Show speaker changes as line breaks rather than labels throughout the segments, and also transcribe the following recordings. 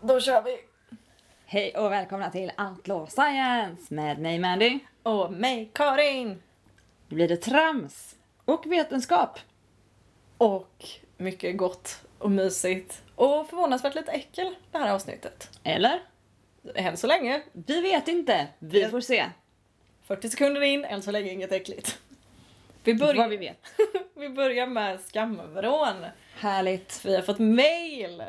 Då kör vi!
Hej och välkomna till Outlaw Science med mig Mandy.
Och mig, Karin!
Nu blir det trams och vetenskap.
Och mycket gott och mysigt. Och förvånansvärt lite äckel det här avsnittet.
Eller?
Än så länge.
Vi vet inte. Vi får se
40 sekunder in, än så länge inget äckligt. Vi
vad
börjar,
vi vet.
vi börjar med skamvrån.
Härligt.
Vi har fått mail!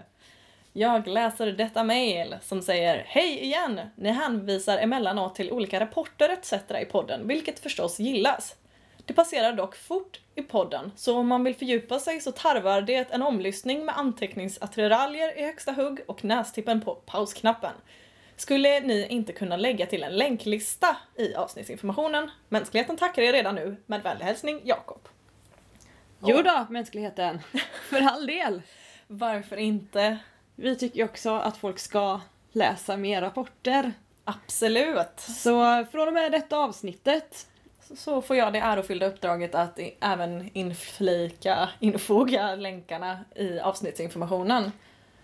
Jag läser detta mail som säger Hej igen! Ni hänvisar emellanåt till olika rapporter etc. i podden, vilket förstås gillas. Det passerar dock fort i podden, så om man vill fördjupa sig så tarvar det en omlyssning med anteckningsattiraljer i högsta hugg och nästippen på pausknappen. Skulle ni inte kunna lägga till en länklista i avsnittsinformationen? Mänskligheten tackar er redan nu. Med vänlig hälsning Jakob.
Jo då, mänskligheten. För all del.
Varför inte?
Vi tycker ju också att folk ska läsa mer rapporter.
Absolut!
Så från och med detta avsnittet
så får jag det ärofyllda uppdraget att i, även inflika, infoga länkarna i avsnittsinformationen.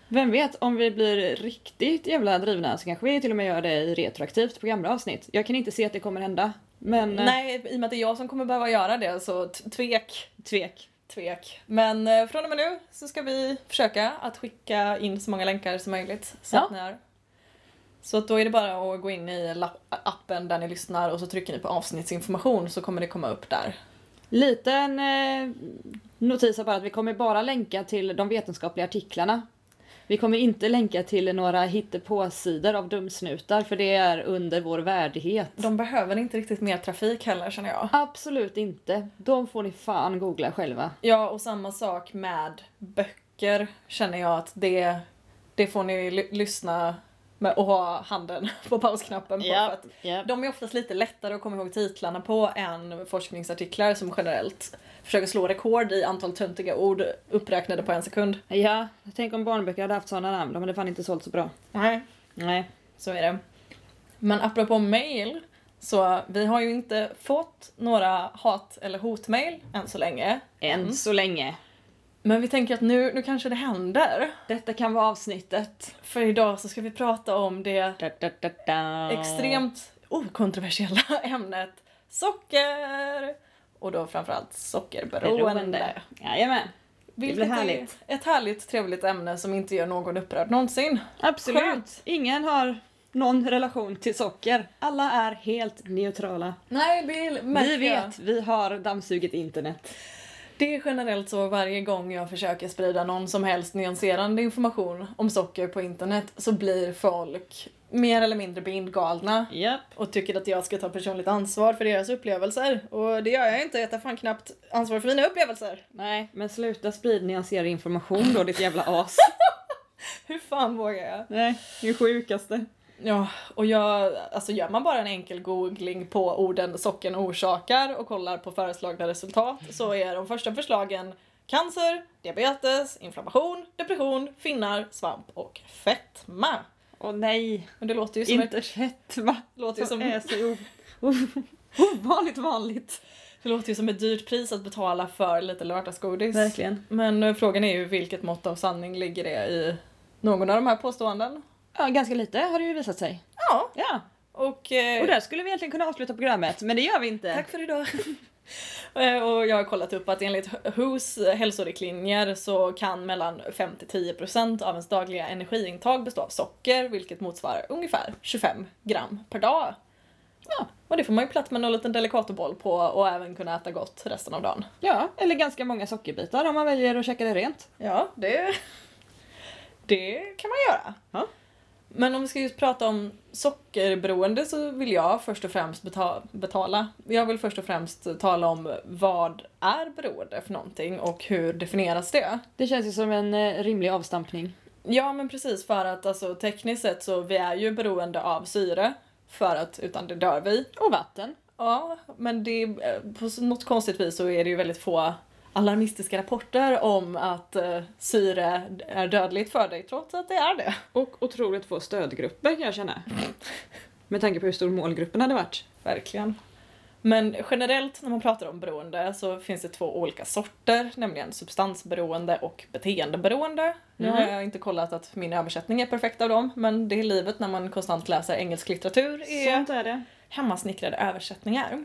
vem vet, om vi blir riktigt jävla drivna så kanske vi till och med gör det i retroaktivt på gamla avsnitt. Jag kan inte se att det kommer hända. Men eh,
Nej, i och med att det är jag som kommer behöva göra det så t- tvek,
tvek.
tvek. Men eh, från och med nu så ska vi försöka att skicka in så många länkar som möjligt. Så,
Ja.
att, ni är. så att då är det bara att gå in i lapp- appen där ni lyssnar och så trycker ni på avsnittsinformation så kommer det komma upp där.
Liten eh, notis här bara att vi kommer bara länka till de vetenskapliga artiklarna. Vi kommer inte länka till några hittepåsidor av dumsnutar för det är under vår värdighet.
De behöver inte riktigt mer trafik heller känner jag.
Absolut inte. De får ni fan googla själva.
Ja, och samma sak med böcker känner jag att det, det får ni ly- lyssna med och ha handen på pausknappen på. För att de är oftast lite lättare att komma ihåg titlarna på än forskningsartiklar som generellt försöker slå rekord i antal töntiga ord uppräknade på en sekund.
Ja, tänk om barnböcker hade haft sådana namn. De hade fan inte sålt så bra.
Nej.
Nej.
Så är det. Men apropå mail, så vi har ju inte fått några hat eller hotmail än så länge.
Än så länge.
Men vi tänker att nu, nu kanske det händer.
Detta kan vara avsnittet.
För idag så ska vi prata om det
Da, da, da, da.
extremt okontroversiella ämnet socker! Och då framförallt sockerberoende.
beroende. Jajamän.
Vilket
blir härligt.
är ett härligt trevligt ämne som inte gör någon upprörd någonsin.
Absolut.
Skönt.
Ingen har någon relation till socker. Alla är helt neutrala.
Nej, det
vi vet, vi har dammsugit internet.
Det är generellt så varje gång jag försöker sprida någon som helst nyanserande information om socker på internet så blir folk mer eller mindre bindgalna.
Japp.
och tycker att jag ska ta personligt ansvar för deras upplevelser. Och det gör jag inte, jag tar fan knappt ansvar för mina upplevelser.
Nej, men sluta sprida nyanserad information då ditt jävla as.
Hur fan vågar jag?
Nej, det är sjukaste.
Ja, och jag, alltså gör man bara en enkel googling på orden socken orsakar och kollar på föreslagna resultat så är de första förslagen cancer, diabetes, inflammation, depression, finnar, svamp och fetma.
Åh nej,
Men det låter ju som, ett,
inte fetma.
låter ju
Som
som,
är så o- o- ovanligt vanligt.
det låter ju som ett dyrt pris att betala för lite lördagsgodis.
Verkligen.
Men eh, frågan är ju vilket mått av sanning ligger det i någon av de här påståenden?
Ja, ganska lite har det ju visat sig.
Ja,
Ja,
och... eh,
och där skulle vi egentligen kunna avsluta programmet, men det gör vi inte.
Tack för idag! Eh, och jag har kollat upp att enligt WHOs hälsoriktlinjer så kan mellan 5-10% av ens dagliga energiintag bestå av socker, vilket motsvarar ungefär 25 gram per dag.
Ja.
Och det får man ju platt med någon liten delikatoboll på och även kunna äta gott resten av dagen.
Ja, eller ganska många sockerbitar om man väljer att käka det rent.
Ja, det, det kan man göra.
Ja.
Men om vi ska just prata om sockerberoende så vill jag först och främst beta- betala. Jag vill först och främst tala om vad är beroende för någonting och hur definieras det?
Det känns ju som en eh, rimlig avstampning.
Ja men precis för att alltså, tekniskt sett så vi är ju beroende av syre för att utan det dör vi.
Och vatten.
Ja, men det, eh, på något konstigt vis så är det ju väldigt få alarmistiska rapporter om att eh, syre är dödligt för dig trots att det är det.
Och otroligt få stödgrupper kan jag känna. Med tanke på hur stor målgruppen hade varit.
Verkligen. Men generellt när man pratar om beroende så finns det två olika sorter, nämligen substansberoende och beteendeberoende. Nu har
Mhm.
jag inte kollat att min översättning är perfekt av dem, men det är livet när man konstant läser engelsk litteratur är
Sånt är det.
hemmasnickrade översättningar.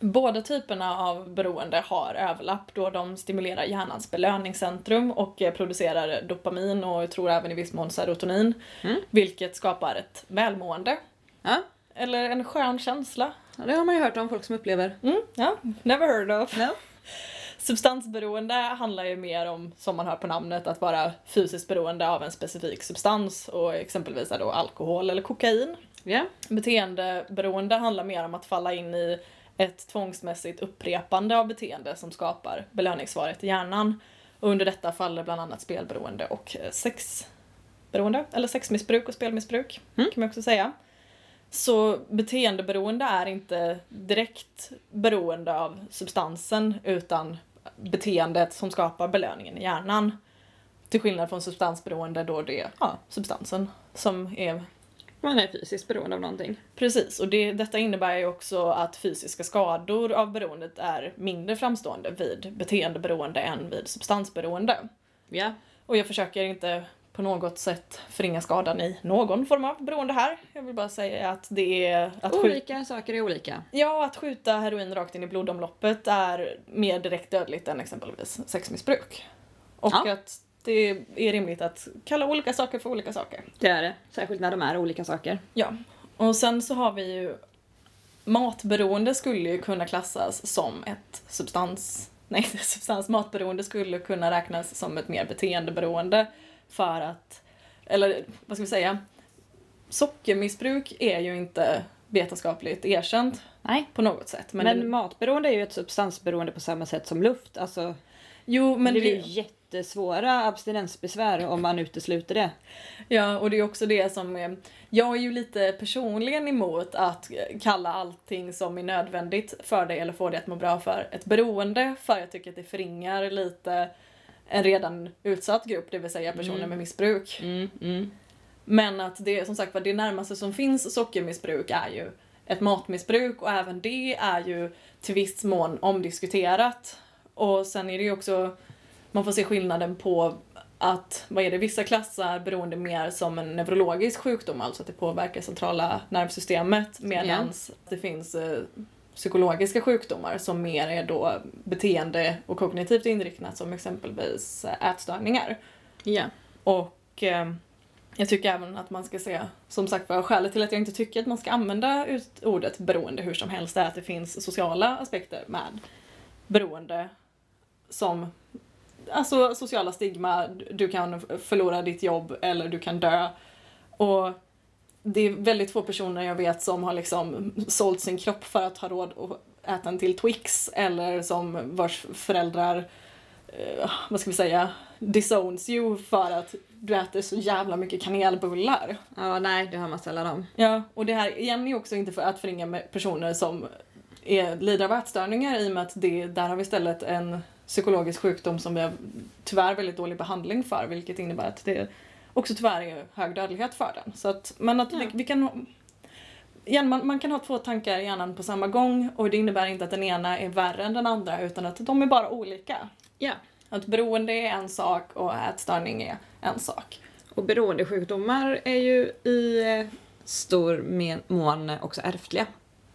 Båda typerna av beroende har överlapp då de stimulerar hjärnans belöningscentrum och eh, producerar dopamin och jag tror även i viss mån serotonin,
Mm.
vilket skapar ett välmående
Ja,
eller en skön känsla.
det har man ju hört om folk som upplever.
Mm, ja, never heard of.
No.
Substansberoende handlar ju mer om, som man hör på namnet, att vara fysiskt beroende av en specifik substans och exempelvis är då alkohol eller kokain.
Ja.
Beteendeberoende handlar mer om att falla in i ett tvångsmässigt upprepande av beteende som skapar belöningssvaret i hjärnan. Och under detta faller bland annat spelberoende och eh, sexberoende, eller sexmissbruk och spelmissbruk
Mm.
kan man också säga. Så beteendeberoende är inte direkt beroende av substansen utan beteendet som skapar belöningen i hjärnan. Till skillnad från substansberoende då det är ja, substansen som är
Man är fysiskt beroende av någonting.
Precis, och det, detta innebär ju också att fysiska skador av beroendet är mindre framstående vid beteendeberoende än vid substansberoende.
Ja.
Och jag försöker inte på något sätt förringa skadan i någon form av beroende här. Jag vill bara säga att det är att skjuta
Olika saker är olika.
Ja, att skjuta heroin rakt in i blodomloppet är mer direkt dödligt än exempelvis sexmissbruk. Och
Ja.
att det är rimligt att kalla olika saker för olika saker.
Det är det. Särskilt när de är olika saker.
Ja, och sen så har vi ju matberoende skulle ju kunna klassas som ett substans... Nej, inte substans. Matberoende skulle kunna räknas som ett mer beteendeberoende för att... Eller vad ska vi säga? Sockermissbruk är ju inte vetenskapligt erkänt
Nej.
på något sätt. Men,
Men, matberoende är ju ett substansberoende på samma sätt som luft. Alltså,
jo, men
det blir
det,
ju jättesvåra abstinensbesvär om man utesluter det.
Ja, och det är också det som... eh, Jag är ju lite personligen emot att eh, kalla allting som är nödvändigt för dig eller får dig att må bra för ett beroende, för jag tycker att det förringar lite en redan utsatt grupp, det vill säga personer med missbruk.
Mm,
Men att det som sagt var det närmaste som finns sockermissbruk är ju ett matmissbruk och även det är ju till viss mån omdiskuterat. Och sen är det ju också, man får se skillnaden på att, vad är det, vissa klassar beroende mer som en neurologisk sjukdom, alltså att det påverkar centrala nervsystemet medan det finns eh, psykologiska sjukdomar som mer är då beteende och kognitivt inriktat som exempelvis eh, ätstörningar.
Ja.
Och eh, jag tycker även att man ska se, som sagt var, skälet till att jag inte tycker att man ska använda ut ordet beroende hur som helst är att det finns sociala aspekter med beroende som alltså sociala stigma, du kan förlora ditt jobb eller du kan dö. Och det är väldigt få personer jag vet som har liksom sålt sin kropp för att ha råd att äta en till Twix eller som vars föräldrar eh, vad ska vi säga, disowns you för att du äter så jävla mycket kanelbullar.
Ja, nej, det har man sällan om.
Ja, och det här igen är också inte för att förringa med personer som är, lider av ätstörningar i och med att det, där har vi istället en psykologisk sjukdom som vi har tyvärr väldigt dålig behandling för vilket innebär att det också tyvärr är hög dödlighet för den. Så att, men att vi,
Ja.
vi kan... Igen, man, man kan ha två tankar i hjärnan på samma gång och det innebär inte att den ena är värre än den andra utan att de är bara olika.
Ja.
Att beroende är en sak och ätstörning är en sak.
Och beroendesjukdomar är ju i eh, stor men- mån också ärftliga.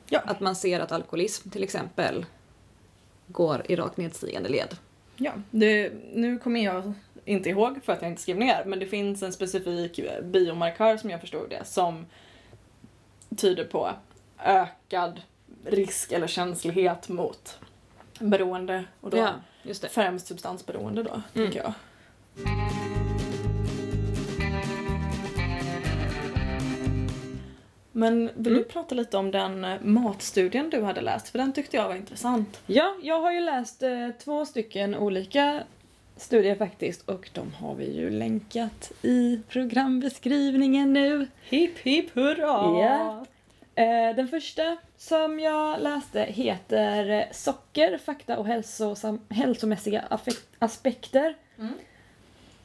Ja.
Att man ser att alkoholism till exempel går i rakt nedstigande led.
Ja, det, nu kommer jag inte ihåg för att jag inte skrev ner men det finns en specifik eh, biomarkör som jag förstod det som tyder på ökad risk eller känslighet mot beroende och då
Ja, Mm. just det.
främst substansberoende då, tänker jag. Men vill
Mm.
du prata lite om den eh, matstudien du hade läst? För den tyckte jag var intressant.
Ja, jag har ju läst eh, två stycken olika studier faktiskt och de har vi ju länkat i programbeskrivningen nu.
Hipp hipp hurra!
Ja. Eh, Den första som jag läste heter eh, Socker, fakta och hälsosam, hälsomässiga affek- aspekter
Mm.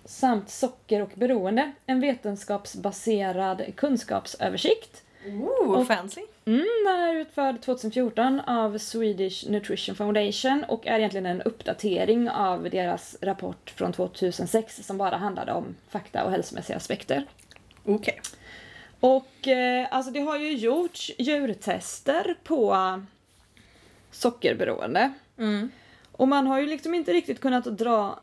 samt socker och beroende. En vetenskapsbaserad kunskapsöversikt.
Ooh,
Och-
fancy!
Mm, den är utförd 2014 av Swedish Nutrition Foundation och är egentligen en uppdatering av deras rapport från 2006 som bara handlade om fakta och hälsomässiga aspekter.
Okej.
Och eh, alltså det har ju gjorts djurtester på sockerberoende.
Mm.
Och man har ju liksom inte riktigt kunnat dra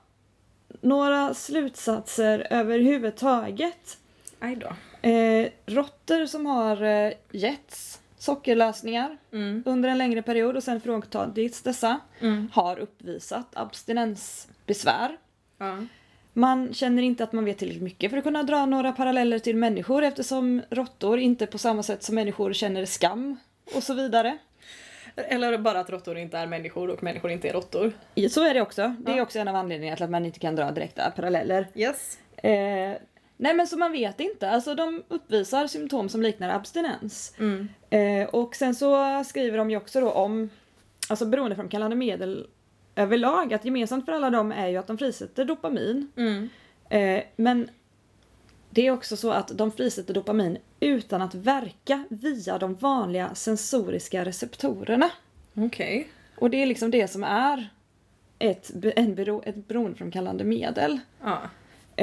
några slutsatser överhuvudtaget.
Aj då.
Eh, råttor som har eh, getts sockerlösningar
Mm.
under en längre period och sen fråntagits dessa
Mm.
har uppvisat abstinensbesvär.
Ja.
Man känner inte att man vet tillräckligt mycket för att kunna dra några paralleller till människor eftersom råttor inte på samma sätt som människor känner skam och så vidare.
Eller bara att råttor inte är människor och människor inte är råttor.
I- Så är det också. Det är
Ja.
också en av anledningarna till att man inte kan dra direkta paralleller.
Yes.
Eh, nej men så man vet inte. Alltså de uppvisar symptom som liknar abstinens.
Mm.
Eh, och sen så skriver de ju också då om alltså beroendeframkallande medel överlag att gemensamt för alla dem är ju att de frisätter dopamin.
Mm.
Eh, men det är också så att de frisätter dopamin utan att verka via de vanliga sensoriska receptorerna.
Okej.
Och det är liksom det som är ett, be- en bero, ett beroendeframkallande medel.
Ja.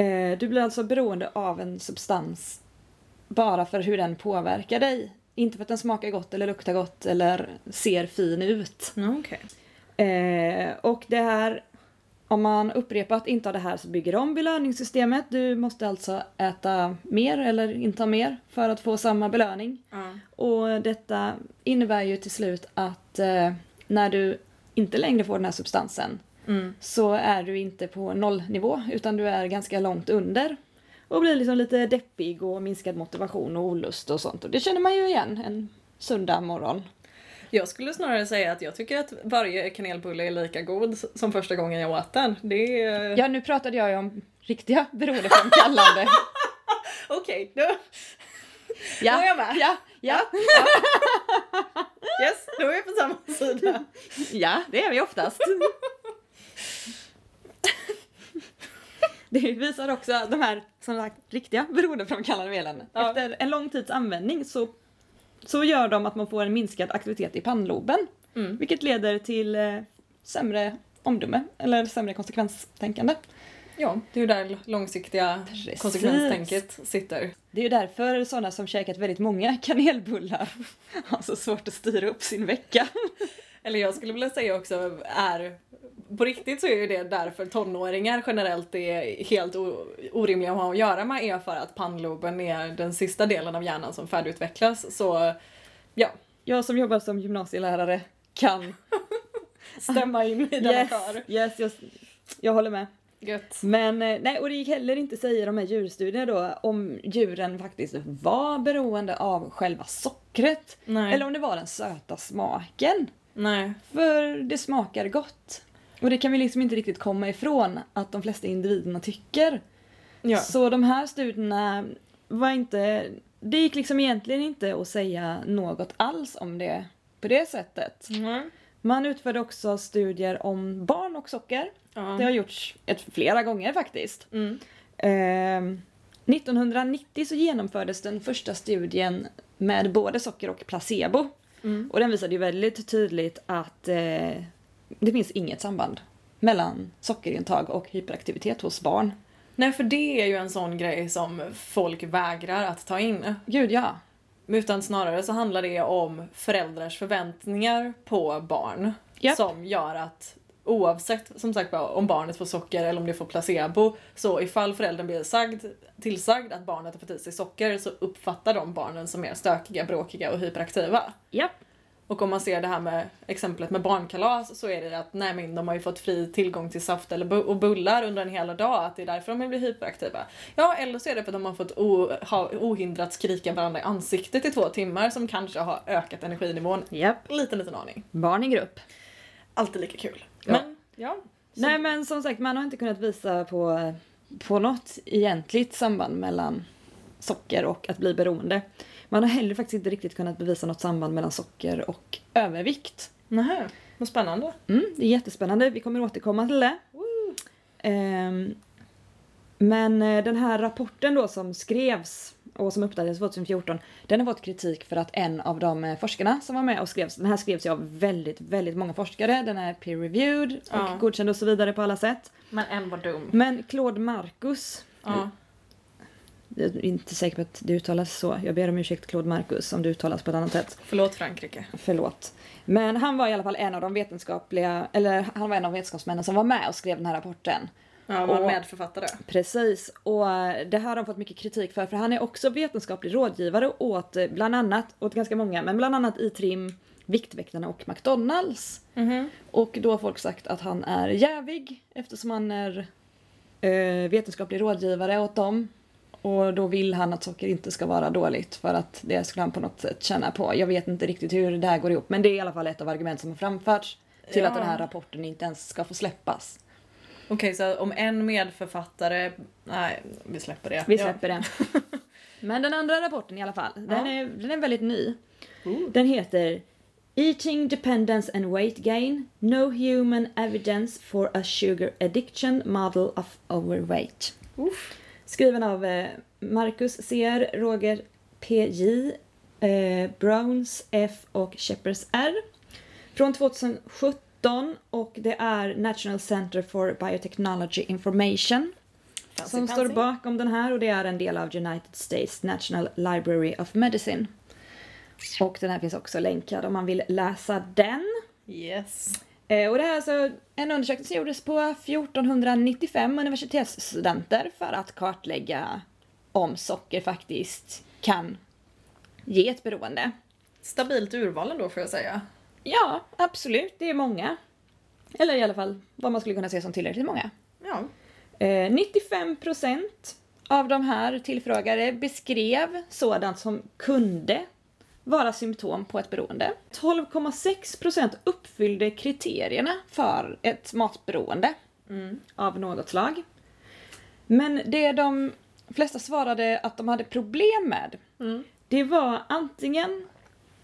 Eh, du blir alltså beroende av en substans bara för hur den påverkar dig. Inte för att den smakar gott eller luktar gott eller ser fin ut.
Okej.
Eh, och det här, om man upprepar att inte ha det här så bygger det om belöningssystemet. Du måste alltså äta mer eller inta mer för att få samma belöning.
Ja.
Och detta innebär ju till slut att eh, när du inte längre får den här substansen
Mm.
så är du inte på nollnivå utan du är ganska långt under. Och blir liksom lite deppig och minskad motivation och olust och sånt. Och det känner man ju igen en söndag morgon.
Jag skulle snarare säga att jag tycker att varje kanelbulle är lika god s- som första gången jag åt den. Det är...
Ja, nu pratade jag ju om riktiga beroendeframkallande.
Okej, då... Då
ja,
är jag med.
ja, ja,
Yes, då är vi på samma sida.
ja, det är vi oftast. Det visar också de här som sagt riktiga beroendeframkallande medlen.
Ja.
Efter en lång tids användning så, så gör de att man får en minskad aktivitet i pannloben.
Mm.
Vilket leder till eh, sämre omdöme eller sämre konsekvenstänkande.
Ja, det är ju där långsiktiga
Precis.
konsekvenstänket sitter.
Det är ju därför sådana som käkat väldigt många kanelbullar har så svårt att styra upp sin vecka.
Eller jag skulle vilja säga också är på riktigt så är ju det därför tonåringar generellt är helt o- orimliga att ha att göra med är för att pannloben är den sista delen av hjärnan som färdigutvecklas så ja,
Jag som jobbar som gymnasielärare kan.
stämma in i denna
Yes,
kör.
yes, yes, jag håller med.
Gött.
Men eh, nej, och det gick heller inte att säga i de här djurstudierna då om djuren faktiskt var beroende av själva sockret.
Nej.
Eller om det var den söta smaken.
Nej.
För det smakar gott. Och det kan vi liksom inte riktigt komma ifrån att de flesta individerna tycker.
Ja.
Så de här studierna var inte... Det gick liksom egentligen inte att säga något alls om det på det sättet.
Mm.
Man utförde också studier om barn och socker. Det
Ja.
har gjorts ett, flera gånger faktiskt.
Mm.
Ehm, 1990 så genomfördes den första studien med både socker och placebo.
Mm.
Och den visade ju väldigt tydligt att eh, det finns inget samband mellan sockerintag och hyperaktivitet hos barn.
Nej för det är ju en sån grej som folk vägrar att ta in.
Gud ja.
Utan snarare så handlar det om föräldrars förväntningar på barn.
Japp.
Som gör att oavsett som sagt var, om barnet får socker eller om det får placebo. Så ifall föräldern blir sagd, tillsagd att barnet har fått i sig socker så uppfattar de barnen som mer stökiga, bråkiga och hyperaktiva.
Japp.
Och om man ser det här med exemplet med barnkalas så är det att nej men de har ju fått fri tillgång till saft eller bu- och bullar under en hel dag, att det är därför de blir hyperaktiva. Ja, eller så är det för att de har fått o- ha ohindrat skrika varandra i ansiktet i två timmar som kanske har ökat energinivån.
Japp.
Liten, liten aning.
Barn i grupp.
Alltid lika kul.
Ja.
Men, ja. Så-
Nej men som sagt man har inte kunnat visa på, på något egentligt samband mellan socker och att bli beroende. Man har heller faktiskt inte riktigt kunnat bevisa något samband mellan socker och övervikt.
Nähä, vad spännande.
Mm, det är jättespännande, vi kommer återkomma till det. Ehm, men eh, den här rapporten då som skrevs och som uppdaterades 2014, den har fått kritik för att en av de eh, forskarna som var med och skrevs, den här skrevs ju av väldigt, väldigt många forskare, den är peer-reviewed och
Ja.
godkänd och så vidare på alla sätt.
Men en var dum.
Men Claude Marcus,
Ja.
jag är inte säker på att det uttalas så, jag ber om ursäkt Claude Marcus om det uttalas på ett annat sätt.
Förlåt Frankrike.
Förlåt. Men han var i alla fall en av de vetenskapliga, eller han var en av vetenskapsmännen som var med och skrev den här rapporten.
Ja, var
Och-
medförfattare.
Precis, och eh, det här har de fått mycket kritik för för han är också vetenskaplig rådgivare åt eh, bland annat, åt ganska många, men bland annat i Trim, Viktväktarna och McDonalds.
Mhm.
Och då har folk sagt att han är jävig eftersom han är eh, vetenskaplig rådgivare åt dem. Och då vill han att socker inte ska vara dåligt för att det skulle han på något sätt känna på. Jag vet inte riktigt hur det här går ihop men det är i alla fall ett av argument som har framförts till att
Ja.
den här rapporten inte ens ska få släppas.
Okej, så om en medförfattare... Nej, vi släpper det.
Vi släpper den. Men den andra rapporten i alla fall, den,
Ja.
är, den är väldigt ny.
Ja. Ooh.
Den heter Eating Dependence and Weight Gain No Human Evidence for a Sugar Addiction Model of Overweight.
Uff.
Skriven av eh, Marcus CR, Roger PJ, eh, Browns F och Shepherds R. Från 2017 och det är National Center for Biotechnology Information
Fancy,
som
fancy.
står bakom den här och det är en del av United States National Library of Medicine. Och den här finns också länkad om man vill läsa den.
Yes.
Eh, och det här är alltså en undersökning som gjordes på 1495 universitetsstudenter för att kartlägga om socker faktiskt kan ge ett beroende.
Stabilt urval ändå får jag säga.
Ja, absolut, det är många. Eller i alla fall vad man skulle kunna se som tillräckligt många.
Ja.
Eh, 95% av de här tillfrågade beskrev sådant som kunde vara symptom på ett beroende. 12,6% uppfyllde kriterierna för ett matberoende
Mm.
av något slag. Men det de flesta svarade att de hade problem med,
Mm.
det var antingen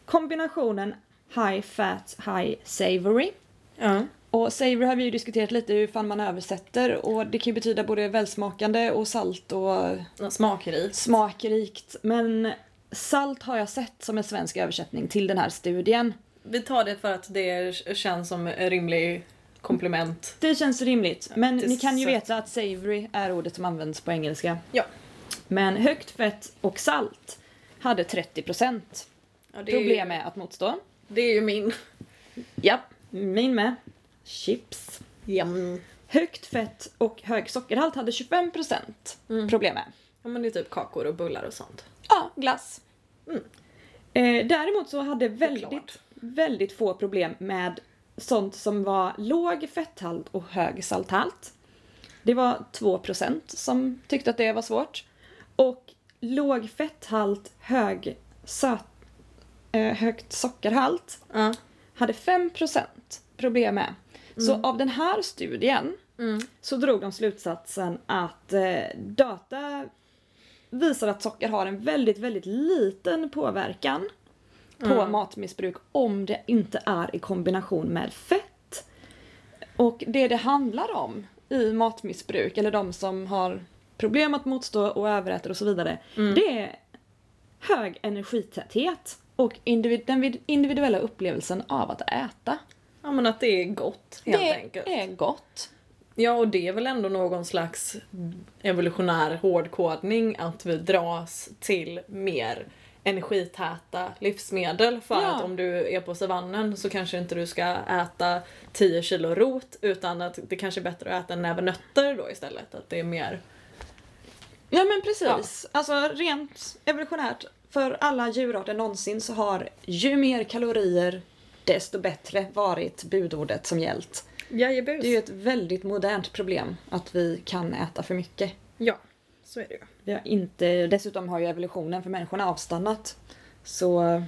kombinationen high fat, high savory,
Ja.
och savory har vi ju diskuterat lite hur fan man översätter och det kan ju betyda både välsmakande och salt och
Smakrikt.
smakrikt. Men salt har jag sett som en svensk översättning till den här studien.
Vi tar det för att det känns som en rimlig komplement.
Det känns rimligt, men
det är
ni kan ju
sött.
veta att savory är ordet som används på engelska.
Ja.
Men högt fett och salt hade 30%
ja det, är
problem
ju,
med att motstå.
det är ju min.
Ja, min med. Chips.
Jämn.
Högt fett och hög sockerhalt hade 25%
Mm.
problem med.
Ja men det är typ kakor och bullar och sånt.
Ja, glass.
Mm.
Eh, däremot så hade
Choklad.
väldigt, väldigt få problem med sånt som var låg fetthalt och hög salthalt. Det var 2% som tyckte att det var svårt. Och låg fetthalt, hög söt, eh, högt sockerhalt
Ja.
hade 5% problem med. Så av den här studien
Mm.
så drog de slutsatsen att eh, data visar att socker har en väldigt, väldigt liten påverkan på
Mm.
matmissbruk om det inte är i kombination med fett. Och det det handlar om i matmissbruk, eller de som har problem att motstå och överäter och så vidare,
Mm.
det är hög energitäthet och individ- den vid- individuella upplevelsen av att äta.
Ja men att det är gott helt
det
enkelt.
är gott.
Ja och det är väl ändå någon slags evolutionär hårdkodning att vi dras till mer energitäta livsmedel för
Ja.
att om du är på savannen så kanske inte du ska äta 10 kilo rot utan att det kanske är bättre att äta en näve nötter då istället. Att det är mer
Ja men precis. Alltså rent evolutionärt, för alla djurarter någonsin så har ju mer kalorier desto bättre varit budordet som gällt.
Jajebus.
Det är ju ett väldigt modernt problem att vi kan äta för mycket.
Ja, så är det ju.
Vi har inte, dessutom har ju evolutionen för människorna avstannat. Så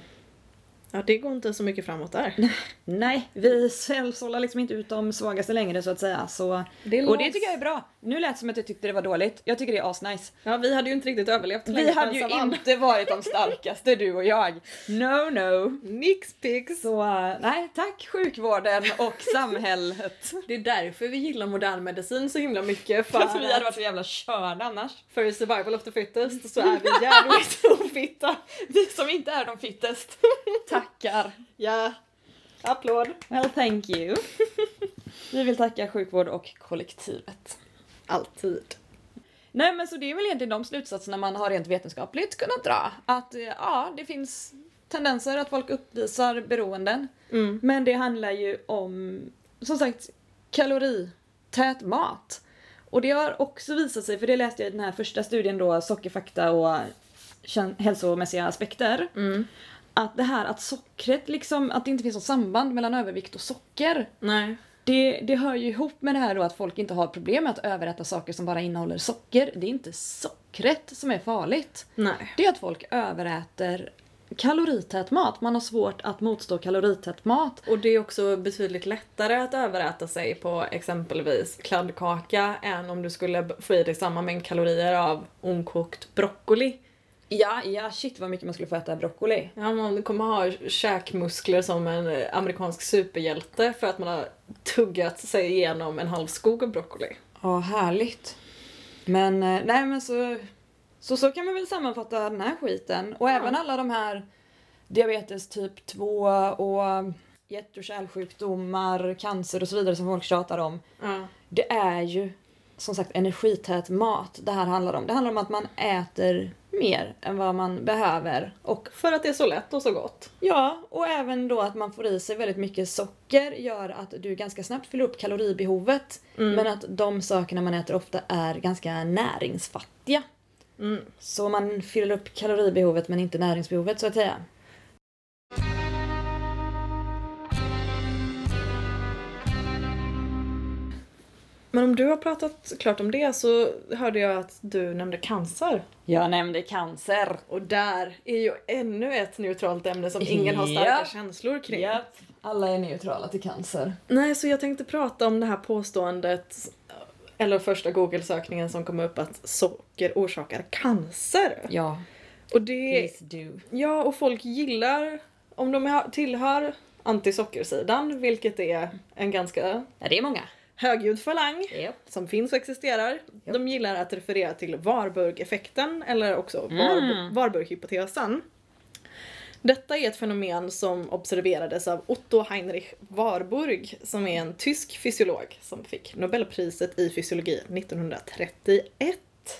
Ja, det går inte så mycket framåt där.
Nej, vi sållar liksom inte ut de svagaste längre så att säga. Så...
Det
Och det tycker jag är bra. Nu lät det som att jag tyckte det var dåligt. Jag tycker det är asnice.
Ja, vi hade ju inte riktigt överlevt
Vi
länge på
hade
en
ju
savann.
inte varit de starkaste du och jag. No no.
Nix pix.
Så eh, nej, tack sjukvården och samhället.
Det är därför vi gillar modern medicin så himla mycket. För,
För att vi
att-
hade varit så jävla körda annars.
för survival of the fittest så är vi jävligt ofitta.
Vi som inte är de fittest. Tackar.
Ja. Applåd.
Well thank you. Vi vill tacka sjukvård och kollektivet.
Alltid.
Nej men så det är väl egentligen de slutsatserna man har rent vetenskapligt kunnat dra. Att eh, ja, det finns tendenser att folk uppvisar beroenden.
Mm.
Men det handlar ju om, som sagt, kalorität mat. Och det har också visat sig, för det läste jag i den här första studien då, Sockerfakta och kän- hälsomässiga aspekter.
Mm.
Att det här att sockret liksom, att det inte finns något samband mellan övervikt och socker.
Nej.
Det, det hör ju ihop med det här då att folk inte har problem med att överäta saker som bara innehåller socker. Det är inte sockret som är farligt.
Nej.
Det är att folk överäter kalorität mat. Man har svårt att motstå kalorität mat.
Och det är också betydligt lättare att överäta sig på exempelvis kladdkaka än om du skulle b- få i dig samma mängd kalorier av onkokt broccoli.
Ja, ja shit vad mycket man skulle få äta broccoli.
Ja, man kommer ha käkmuskler som en eh, amerikansk superhjälte för att man har tuggat sig igenom en halv skog av broccoli.
Ja, härligt. Men eh, nej men så, så så kan man väl sammanfatta den här skiten. Och även alla de här diabetes typ 2 och hjärt och kärlsjukdomar, cancer och så vidare som folk tjatar om.
Ja.
Det är ju som sagt energität mat det här handlar om. Det handlar om att man äter mer än vad man behöver och
För att det är så lätt och så gott.
Ja, och även då att man får i sig väldigt mycket socker gör att du ganska snabbt fyller upp kaloribehovet. Men att de sakerna man äter ofta är ganska näringsfattiga.
Mm.
Så man fyller upp kaloribehovet men inte näringsbehovet så att säga.
Men om du har pratat klart om det så hörde jag att du nämnde cancer.
Jag nämnde cancer.
Och där är ju ännu ett neutralt ämne som ingen har starka
Ja.
känslor kring.
Japp. Alla är neutrala till cancer.
Nej, så jag tänkte prata om det här påståendet eller första google-sökningen som kom upp att socker orsakar cancer.
Ja,
Och det,
please do.
ja, och folk gillar om de ha- tillhör antisockersidan, vilket är en ganska
Ja, det är många.
högljudd falang
Japp.
som finns och existerar. De gillar att referera till Warburg-effekten eller också Warburg- Warburg-hypotesen. Detta är ett fenomen som observerades av Otto Heinrich Warburg som är en tysk fysiolog som fick Nobelpriset i fysiologi 1931.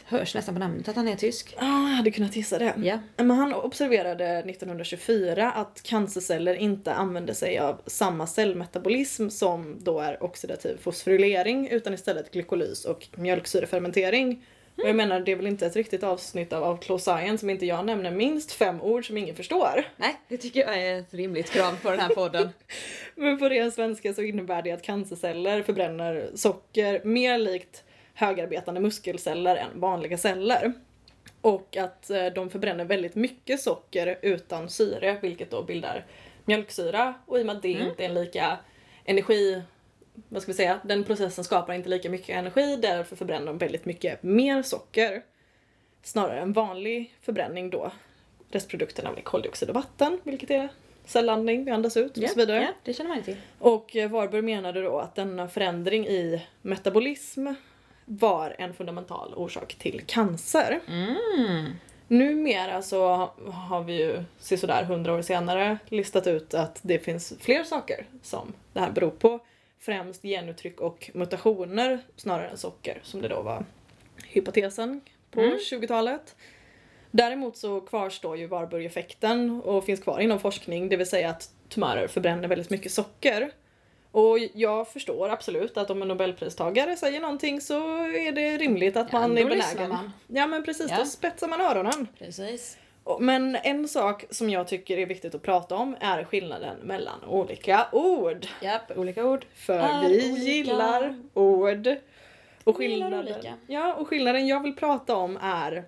Hörs nästan på namnet att han är tysk.
Ah, jag hade kunnat gissa det.
Ja.
Men han observerade 1924 att cancerceller inte använde sig av samma cellmetabolism som då är oxidativ fosforylering utan istället glykolys och mjölksyrefermentering. Och jag menar det är väl inte ett riktigt avsnitt av Outlaw Science som inte jag nämner minst fem ord som ingen förstår.
Nej, det tycker jag är ett rimligt krav på den här podden.
Men på ren svenska så innebär det att cancerceller förbränner socker mer likt högarbetande muskelceller än vanliga celler. Och att eh, de förbränner väldigt mycket socker utan syre vilket då bildar mjölksyra och i och med att det inte är en lika energi vad ska vi säga, den processen skapar inte lika mycket energi därför förbränner de väldigt mycket mer socker. Snarare än vanlig förbränning då. Restprodukterna blir koldioxid och vatten vilket är cellandning, vi andas ut och så vidare.
Ja, det känner man ju till.
Och eh, Warburg menade då att denna förändring i metabolism var en fundamental orsak till cancer. Numera så har vi ju sådär hundra år senare listat ut att det finns fler saker som det här beror på. Främst genuttryck och mutationer snarare än socker som det då var hypotesen på
Mm.
20-talet. Däremot så kvarstår ju Warburg-effekten och finns kvar inom forskning, det vill säga att tumörer förbränner väldigt mycket socker. Och jag förstår absolut att om en nobelpristagare säger någonting så är det rimligt att
Ja,
man
då
är
lyssnar
benägen.
man.
Ja men precis,
Ja.
då spetsar man öronen.
Precis.
Och- Men en sak som jag tycker är viktigt att prata om är skillnaden mellan olika ord.
Japp, olika ord.
För
Är
vi
olika.
gillar ord. Och
Vi gillar
skillnaden,
olika.
ja, och skillnaden jag vill prata om är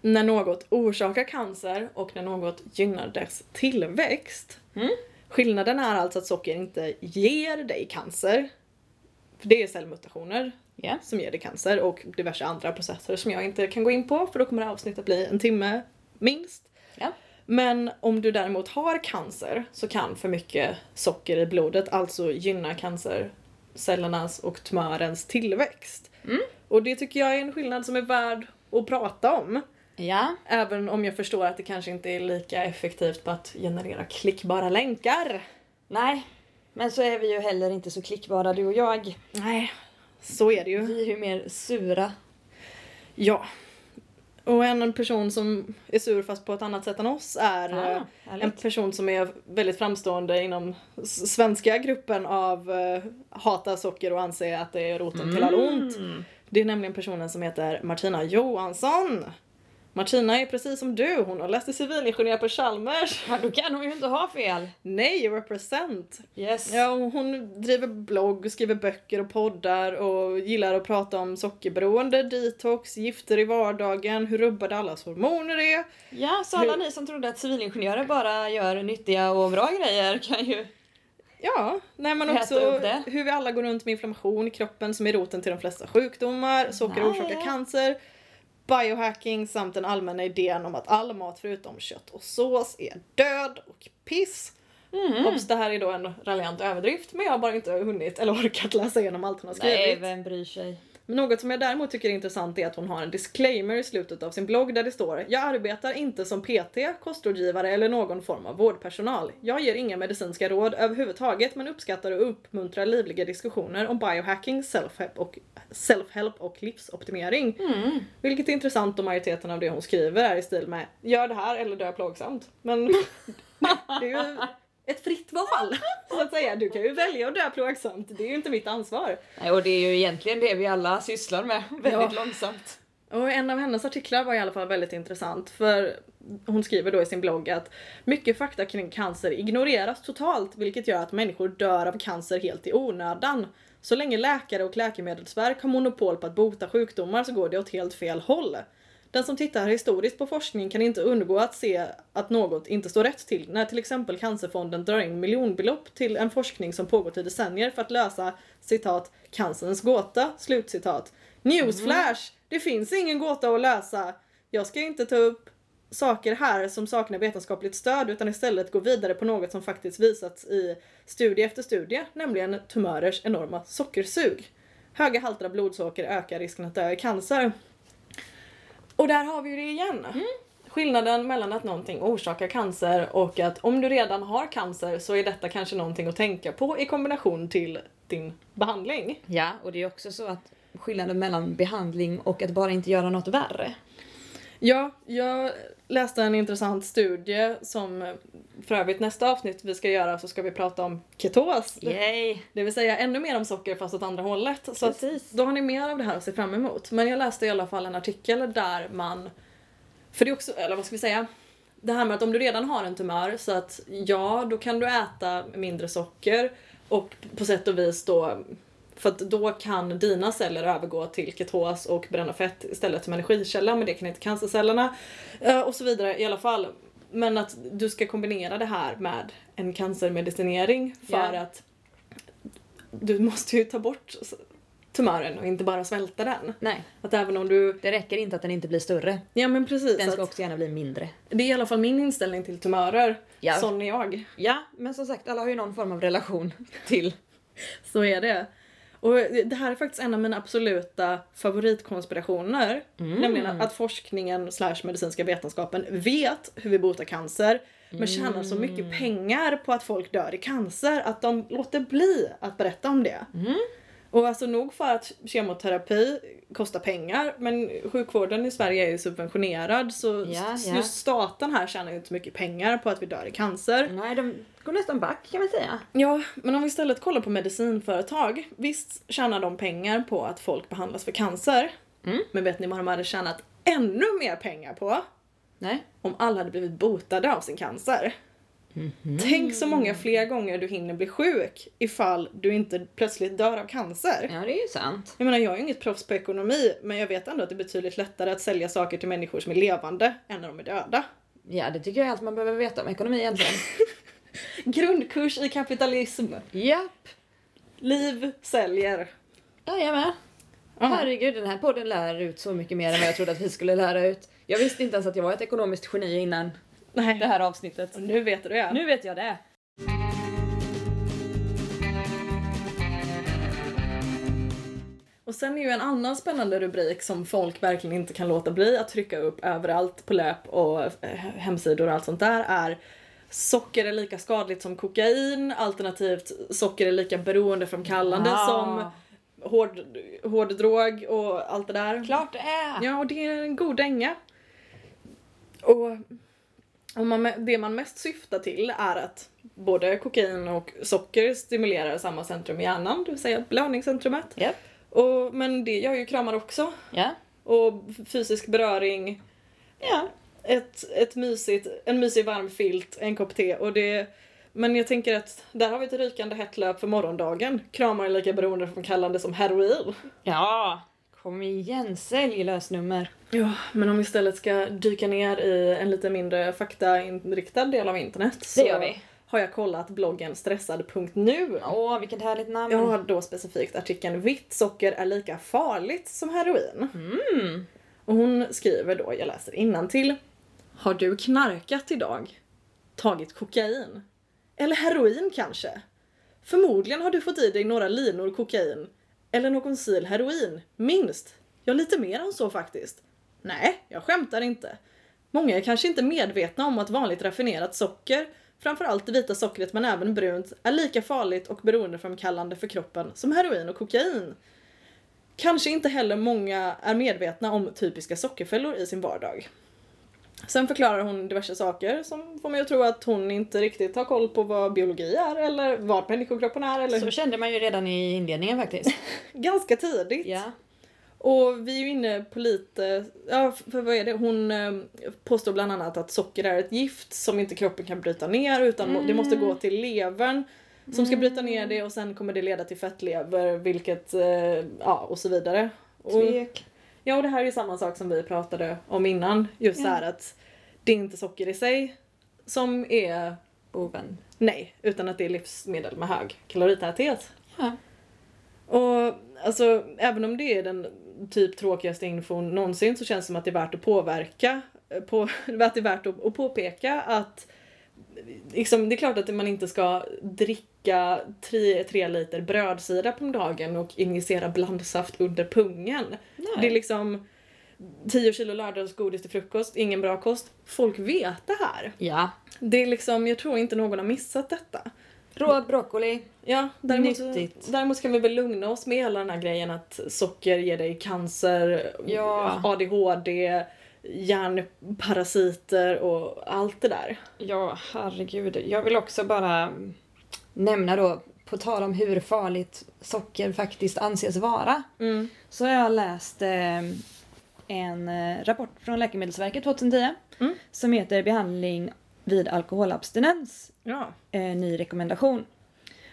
när något orsakar cancer och när något gynnar dess tillväxt.
Mm.
Skillnaden är alltså att socker inte ger dig cancer. För det är cellmutationer
Ja.
som ger dig cancer och diverse andra processer som jag inte kan gå in på för då kommer det här avsnittet bli en timme minst.
Ja.
Men om du däremot har cancer så kan för mycket socker i blodet alltså gynna cancercellernas och tumörens tillväxt.
Mm.
Och det tycker jag är en skillnad som är värd att prata om.
Ja.
Även om jag förstår att det kanske inte är lika effektivt på att generera klickbara länkar.
Nej. Men så är vi ju heller inte så klickbara du och jag.
Nej, så är det ju.
Vi är ju mer sura.
Ja. Och en person som är sur fast på ett annat sätt än oss är eh, en
Ah, härligt.
person som är väldigt framstående inom s- svenska gruppen av eh, hata socker och anse att det är roten till all ont.
Mm.
Det är nämligen personen som heter Martina Johansson. Martina är precis som du, hon har läst till civilingenjör på Chalmers.
Ja, då kan hon ju inte ha fel.
Nej, represent!
Yes.
Ja, och hon driver blogg, skriver böcker och poddar och gillar att prata om sockerberoende, detox, gifter i vardagen, hur rubbade allas hormoner är.
Ja, så alla ni som trodde att civilingenjörer bara gör nyttiga och bra grejer kan ju...
Ja, nej men
Äter
också
upp det.
hur vi alla går runt med inflammation i kroppen som är roten till de flesta sjukdomar, socker
Nej.
orsakar cancer, biohacking samt den allmänna idén om att all mat förutom kött och sås är död och piss.
Mm.
Obs, det här är då en raljant överdrift men jag har bara inte hunnit eller orkat läsa igenom allt hon har skrivit.
Nej, vem bryr sig?
Men något som jag däremot tycker är intressant är att hon har en disclaimer i slutet av sin blogg där det står Jag arbetar inte som PT, kostrådgivare eller någon form av vårdpersonal. Jag ger inga medicinska råd överhuvudtaget men uppskattar och uppmuntrar livliga diskussioner om biohacking, self-help och, self-help och livsoptimering.
Mm.
Vilket är intressant och majoriteten av det hon skriver är i stil med Gör det här eller dö plågsamt. Men det är ju ett fritt val så att säga. Du kan ju välja att dö plågsamt. Det är ju inte mitt ansvar.
Nej, och det är ju egentligen det vi alla sysslar med väldigt
Ja.
långsamt.
Och en av hennes artiklar var i alla fall väldigt intressant för hon skriver då i sin blogg att mycket fakta kring cancer ignoreras totalt vilket gör att människor dör av cancer helt i onödan. Så länge läkare och läkemedelsverk har monopol på att bota sjukdomar så går det åt helt fel håll. Den som tittar historiskt på forskning kan inte undgå att se att något inte står rätt till när till exempel Cancerfonden drar in miljonbelopp till en forskning som pågått i decennier för att lösa citat cancerns gåta, slutcitat. Newsflash! Det finns ingen gåta att lösa. Jag ska inte ta upp saker här som saknar vetenskapligt stöd utan istället gå vidare på något som faktiskt visats i studie efter studie, nämligen tumörers enorma sockersug. Höga halter av blodsocker ökar risken att dö i cancer. Och där har vi ju det igen. Skillnaden mellan att någonting orsakar cancer och att om du redan har cancer så är detta kanske någonting att tänka på i kombination till din behandling.
Ja, och det är också så att skillnaden mellan behandling och att bara inte göra något värre.
Ja, jag läste en intressant studie som eh, för övrigt nästa avsnitt vi ska göra så ska vi prata om ketos.
Yay!
Det vill säga ännu mer om socker fast åt andra hållet. Så att
Precis.
då har ni mer av det här att se fram emot. Men jag läste i alla fall en artikel där man... För det är också, eller vad ska vi säga? Det här med att om du redan har en tumör så att ja, då kan du äta mindre socker och på sätt och vis då för att då kan dina celler övergå till ketos och bränna fett istället som energikälla men det kan inte cancercellerna eh, och så vidare i alla fall. Men att du ska kombinera det här med en cancermedicinering för
Ja.
att du måste ju ta bort s- tumören och inte bara svälta den.
Nej,
Att även om du...
det räcker inte att den inte blir större.
Ja men precis.
Den ska
att
också gärna bli mindre.
det är i alla fall min inställning till tumörer.
Ja.
Sån är jag.
Ja, men som sagt, alla har ju någon form av relation till.
Så är det. Och det här är faktiskt en av mina absoluta favoritkonspirationer.
Mm.
Nämligen att, att forskningen slash medicinska vetenskapen vet hur vi botar cancer
Mm.
men tjänar så mycket pengar på att folk dör i cancer att de låter bli att berätta om det.
Mm.
Och alltså nog för att kemoterapi kostar pengar men sjukvården i Sverige är ju subventionerad så
Ja,
s-
ja.
just staten här tjänar ju inte så mycket pengar på att vi dör i cancer.
Nej, de går nästan back kan man säga.
Ja, men om vi istället kollar på medicinföretag. Visst tjänar de pengar på att folk behandlas för cancer.
Mm.
Men vet ni vad de hade tjänat ännu mer pengar på?
Nej.
Om alla hade blivit botade av sin cancer.
Mhm.
Tänk så många fler gånger du hinner bli sjuk ifall du inte plötsligt dör av cancer.
Ja, det är ju sant.
Jag menar, jag är inget proffs på ekonomi, men jag vet ändå att det är betydligt lättare att sälja saker till människor som är levande än när de är döda.
Ja, det tycker jag är allt man behöver veta om ekonomi egentligen.
Grundkurs i kapitalism.
Japp.
Liv säljer.
Där är jag med.
Ja.
Herregud, den här podden lär ut så mycket mer än vad jag trodde att vi skulle lära ut. Jag visste inte ens att jag var ett ekonomiskt geni innan
Nej.
det här avsnittet.
Och nu vet du det.
Nu vet jag det.
Och sen är ju en annan spännande rubrik som folk verkligen inte kan låta bli att trycka upp överallt på löp och eh, hemsidor och allt sånt där är Socker är lika skadligt som kokain alternativt socker är lika beroendeframkallande
Ah.
som hård, hård drog och allt det där.
Klart det är!
Ja, och det är en god dänga. Och, och man, det man mest syftar till är att både kokain och socker stimulerar samma centrum i hjärnan, det vill säga belöningscentrumet.
Japp.
Och, men det gör ju kramar också.
Ja.
Och fysisk beröring,
Ja.
ett, ett mysigt, en mysig varm filt, en kopp te. Och det, men jag tänker att där har vi ett rykande hett löp för morgondagen. Kramar är lika beroendeframkallande som heroin.
Ja. Kom igen, sälj lösnummer.
Ja, men om vi istället ska dyka ner i en lite mindre faktainriktad del av internet så
gör vi.
har jag kollat bloggen stressad.nu.
Åh, vilket härligt namn.
Jag har då specifikt artikeln Vitt socker är lika farligt som heroin.
Mm.
Och hon skriver då, jag läser till. Har du knarkat idag? Tagit kokain? Eller heroin kanske? Förmodligen har du fått i dig några linor kokain. Eller någon sil heroin, minst. Ja, lite mer än så faktiskt. Nej, jag skämtar inte. Många är kanske inte medvetna om att vanligt raffinerat socker, framförallt det vita sockret men även brunt, är lika farligt och beroendeframkallande för kroppen som heroin och kokain. Kanske inte heller många är medvetna om typiska sockerfällor i sin vardag. Sen förklarar hon diverse saker som får mig att tro att hon inte riktigt har koll på vad biologi är eller vad människokroppen är. Eller
Så kände man ju redan i inledningen faktiskt.
Ganska tidigt.
ja.
Och vi är ju inne på lite, ja för vad är det, hon eh, påstår bland annat att socker är ett gift som inte kroppen kan bryta ner utan må- det måste gå till levern som ska bryta ner det och sen kommer det leda till fettlever vilket, eh, ja och så vidare. Och,
Tvek.
ja och det här är ju samma sak som vi pratade om innan, just
Ja.
så här att det är inte socker i sig som är
Boven.
nej, utan att det är livsmedel med hög kaloritäthet.
Ja.
Och alltså, även om det är den typ tråkigaste infon någonsin så känns det som att det är värt att påverka, eh, på, att det är värt att, att påpeka att liksom, det är klart att man inte ska dricka tre, tre liter brödsirap om dagen och injicera blandsaft under pungen.
Nej.
Det är liksom 10 kilo lördagsgodis till frukost, ingen bra kost. Folk vet det här.
Ja.
Det är liksom, jag tror inte någon har missat detta.
Rå broccoli.
Ja, däremot,
Nyttigt.
däremot kan vi väl lugna oss med hela den här grejen att socker ger dig cancer,
Ja.
ADHD, hjärnparasiter och allt det där.
Ja, herregud. Jag vill också bara nämna då, på tal om hur farligt socker faktiskt anses vara,
Mm.
så har jag läst eh, en eh, rapport från Läkemedelsverket 2010
Mm.
som heter Behandling vid alkoholabstinens,
Ja.
eh, ny rekommendation.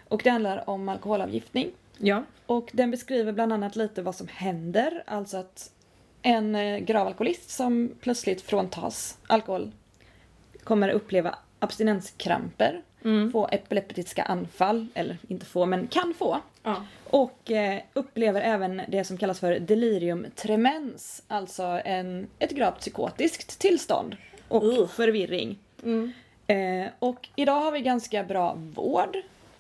Och det handlar om alkoholavgiftning.
Ja.
Och den beskriver bland annat lite vad som händer, alltså att en eh, grav alkoholist som plötsligt fråntas alkohol kommer uppleva abstinenskramper,
Mm.
få epileptiska anfall, eller inte få, men kan få.
ja.
Och eh, upplever även det som kallas för delirium tremens, alltså en, ett gravt psykotiskt tillstånd och
Ugh.
förvirring.
Mm.
Eh, och idag har vi ganska bra vård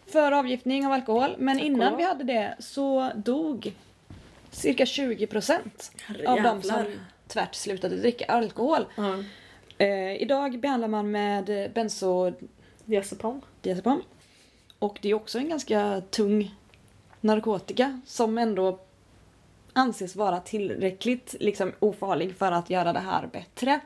för avgiftning av alkohol. Men
Tack och
innan
lov.
vi hade det så dog cirka 20% av de som tvärt slutade dricka alkohol.
Ja.
Eh, idag behandlar man med benzodiazepam.
Diazepam.
Och det är också en ganska tung narkotika som ändå anses vara tillräckligt liksom, ofarlig för att göra det här bättre.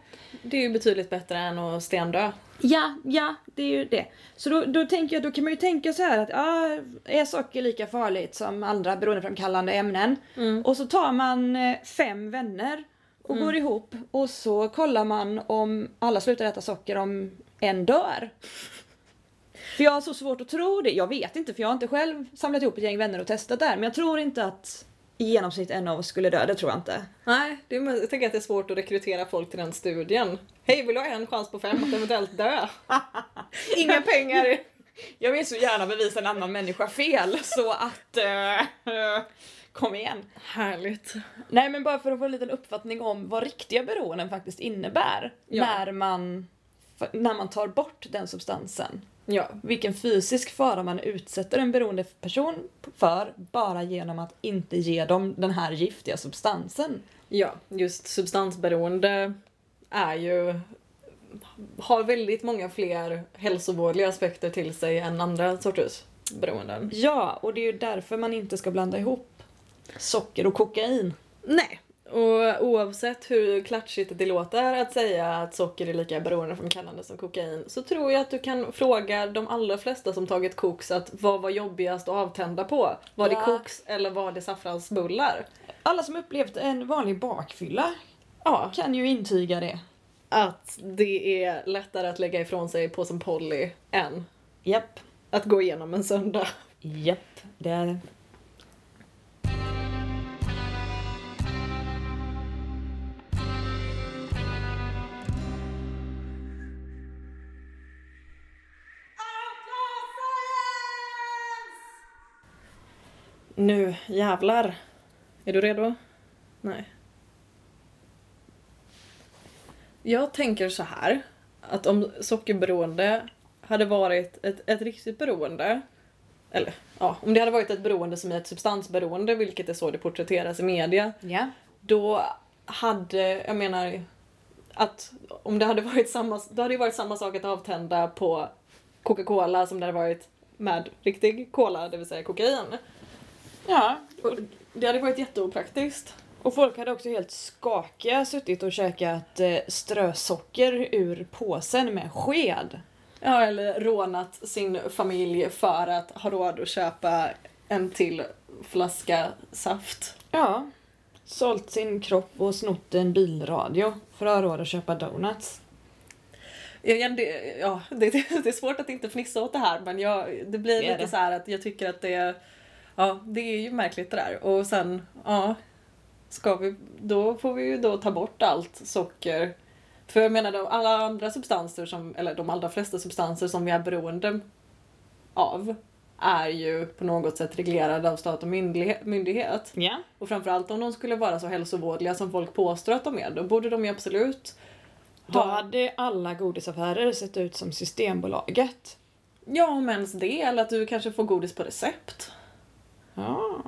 Det är ju betydligt bättre än att stendö.
Ja, ja, det är ju det. Så då, då tänker jag, då kan man ju tänka så här att ja, är socker lika farligt som andra beroendeframkallande ämnen? Och så tar man eh, fem vänner och går ihop och så kollar man om alla slutar äta socker om en dör. För jag har så svårt att tro det. Jag vet inte för jag har inte själv samlat ihop ett gäng vänner och testat där. Men jag tror inte att i genomsnitt en av oss skulle dö. Det tror jag inte.
Nej, det är, men jag tänker att det är svårt att rekrytera folk till den studien. Hej, vill du ha en chans på fem att eventuellt dö? Inga pengar!
Jag vill så gärna bevisa en annan människa fel så att eh, kom igen.
Härligt.
Nej men bara för att få en liten uppfattning om vad riktiga beroenden faktiskt innebär.
Ja.
När, man, när man tar bort den substansen.
Ja,
vilken fysisk fara man utsätter en beroende person för bara genom att inte ge dem den här giftiga substansen.
ja, just substansberoende är ju har väldigt många fler hälsovårdliga aspekter till sig än andra sorters beroenden.
Ja, och det är ju därför man inte ska blanda ihop socker och kokain.
Nej. Och oavsett hur klatschigt det låter att säga att socker är lika beroendeframkallande som kokain så tror jag att du kan fråga de allra flesta som tagit koks att vad var jobbigast att avtända på? Var det
Ja.
koks eller var det saffransbullar?
Alla som upplevt en vanlig bakfylla
Ja,
kan ju intyga det.
att det är lättare att lägga ifrån sig påsen Polly än
Japp,
att gå igenom en söndag.
japp, det är det.
Nu jävlar. Är du redo? Nej. Jag tänker så här. Att om sockerberoende hade varit ett, ett riktigt beroende. Eller ja, om det hade varit ett beroende som är ett substansberoende, vilket är så det porträtteras i media.
Ja.
Då hade, jag menar, att om det hade varit samma, då hade det varit samma sak att avtända på Coca-Cola som det hade varit med riktig cola, det vill säga kokain.
ja.
Och Det hade varit jätteopraktiskt.
Och folk hade också helt skakiga suttit och käkat eh, strösocker ur påsen med sked.
Ja, eller rånat sin familj för att ha råd att köpa en till flaska saft.
Ja. Sålt sin kropp och snott en bilradio för att ha råd att köpa donuts.
Ja, ja, det, ja, det, det, det är svårt att inte fnissa åt det här men jag, det blir
Det är
lite
det.
så här att jag tycker att det, ja, det är ju märkligt det där. Och sen, ja, ska vi, då får vi ju då ta bort allt socker. För jag menar de- alla andra substanser, som, eller de allra flesta substanser som vi är beroende av är ju på något sätt reglerade av stat och myndighe- myndighet.
Ja.
Och framförallt om de skulle vara så hälsovårdliga som folk påstår att de är, då borde de ju absolut
Då
ha
hade alla godisaffärer sett ut som Systembolaget.
Ja, om ens det. Eller att du kanske får godis på recept.
Ja.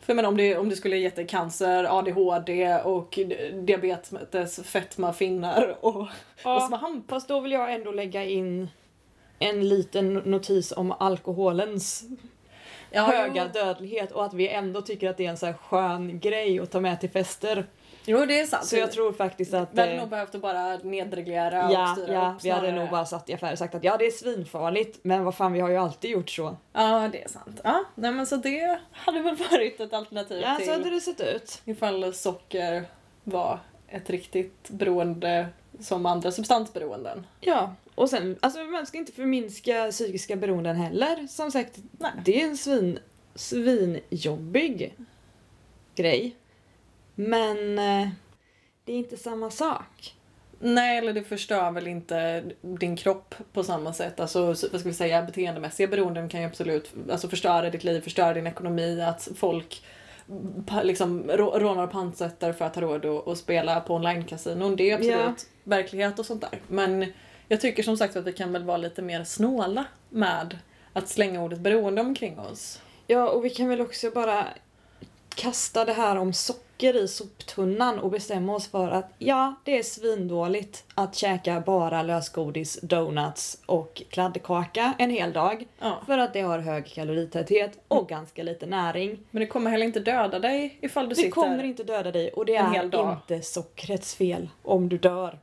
För men om det, om det skulle ge dig cancer, ADHD och diabetes, fetma, finnar och, och
ja.
svamp.
Fast då vill jag ändå lägga in en liten notis om alkoholens höga
Ja,
dödlighet och att vi ändå tycker att det är en så här skön grej att ta med till fester.
jo, jo, det är sant.
Så jag tror faktiskt att...
Vi hade
eh,
nog behövt att bara nedreglera och
Ja,
styra
ja
upp
vi hade
snarare.
nog bara satt i affär och sagt att ja det är svinfarligt men vad fan vi har ju alltid gjort så.
Ja, det är sant. Ja, nej, men så det hade väl varit ett alternativ
Ja
till
så hade det sett ut.
ifall socker var ett riktigt beroende som andra substansberoenden.
Ja, och sen, alltså man ska inte förminska psykiska beroenden heller. Som sagt,
Nej.
det är en svin, svinjobbig grej. Men eh, det är inte samma sak.
Nej, eller det förstör väl inte din kropp på samma sätt. Alltså, så- vad ska vi säga, beteendemässiga beroenden kan ju absolut alltså, förstöra ditt liv, förstöra din ekonomi, att folk pa- liksom rå- rånar och pantsätter för att ha råd att, att spela på online-kasinon. Det är absolut
Ja.
verklighet och sånt där. Men jag tycker som sagt att vi kan väl vara lite mer snåla med att slänga ordet beroende omkring oss.
Ja, och vi kan väl också bara kasta det här om socker i soptunnan och bestämma oss för att ja, det är svindåligt att käka bara lösgodis, donuts och kladdkaka en hel dag.
Ja.
För att det har hög kaloritäthet
Mm.
och ganska lite näring.
Men det kommer heller inte döda dig ifall du
Det
sitter...
kommer inte döda dig och det
en hel
är
dag.
inte sockrets fel om du dör.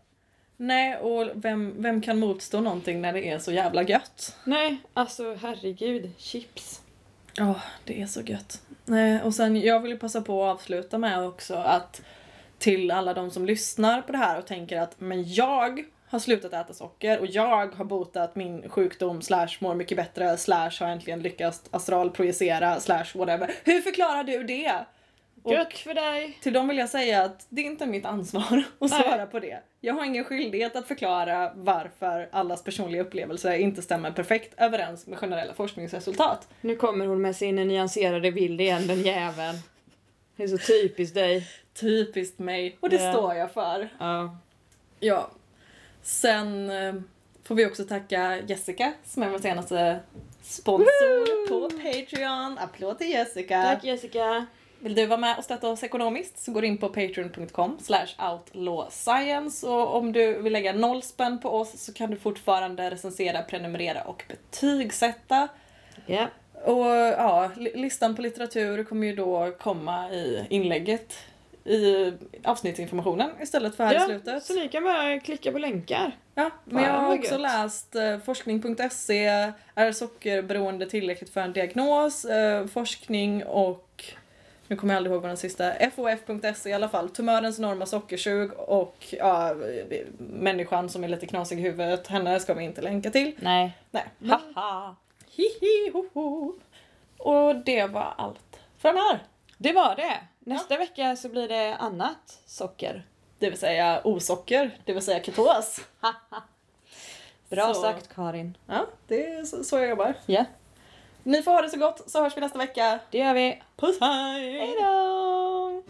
Nej, och vem, vem kan motstå någonting när det är så jävla gött?
Nej, alltså herregud, chips.
Ja, det är så gött. Nej, och sen jag vill ju passa på att avsluta med också att till alla de som lyssnar på det här och tänker att men jag har slutat äta socker och jag har botat min sjukdom slash mår mycket bättre slash har äntligen lyckats astralprojicera slash whatever. Hur förklarar du det? Och-
Gött för dig!
Till dem vill jag säga att det är inte mitt ansvar att
Nej.
svara på det. Jag har ingen skyldighet att förklara varför allas personliga upplevelser inte stämmer perfekt överens med generella forskningsresultat.
Nu kommer hon med sin nyanserade bild igen, den jäveln. Det är så typiskt dig.
Typiskt mig. Och det
Ja.
står jag för.
Ja.
Ja. Sen eh, får vi också tacka Jessica som är vår senaste sponsor på Patreon. Applåd till Jessica!
Tack Jessica!
Vill du vara med och stötta oss ekonomiskt så går in på patreon.com slash outlawscience och om du vill lägga noll spänn på oss så kan du fortfarande recensera, prenumerera och betygsätta.
Ja.
Och ja, li- listan på litteratur kommer ju då komma i inlägget i avsnittsinformationen istället för här i
ja.
slutet.
Så ni kan bara klicka på länkar.
Ja, men jag
Fan,
har
vad
också
gött.
läst eh, forskning.se, är sockerberoende tillräckligt för en diagnos, eh, forskning och nu kommer jag aldrig ihåg vad den sista, FOF.se i alla fall, tumörens enorma sockersug och ja, människan som är lite knasig i huvudet, henne ska vi inte länka till.
Nej.
Nej.
Haha!
Hihi, ho, ho. Och det var allt för den här.
Det var det! Nästa vecka så blir det annat socker.
Det vill säga osocker, det vill säga ketos.
Bra
Så.
sagt Karin.
Ja, det är så så jag jobbar.
Ja.
Ni får ha det så gott så hörs vi nästa vecka.
Det gör vi.
Puss hej!
Hejdå!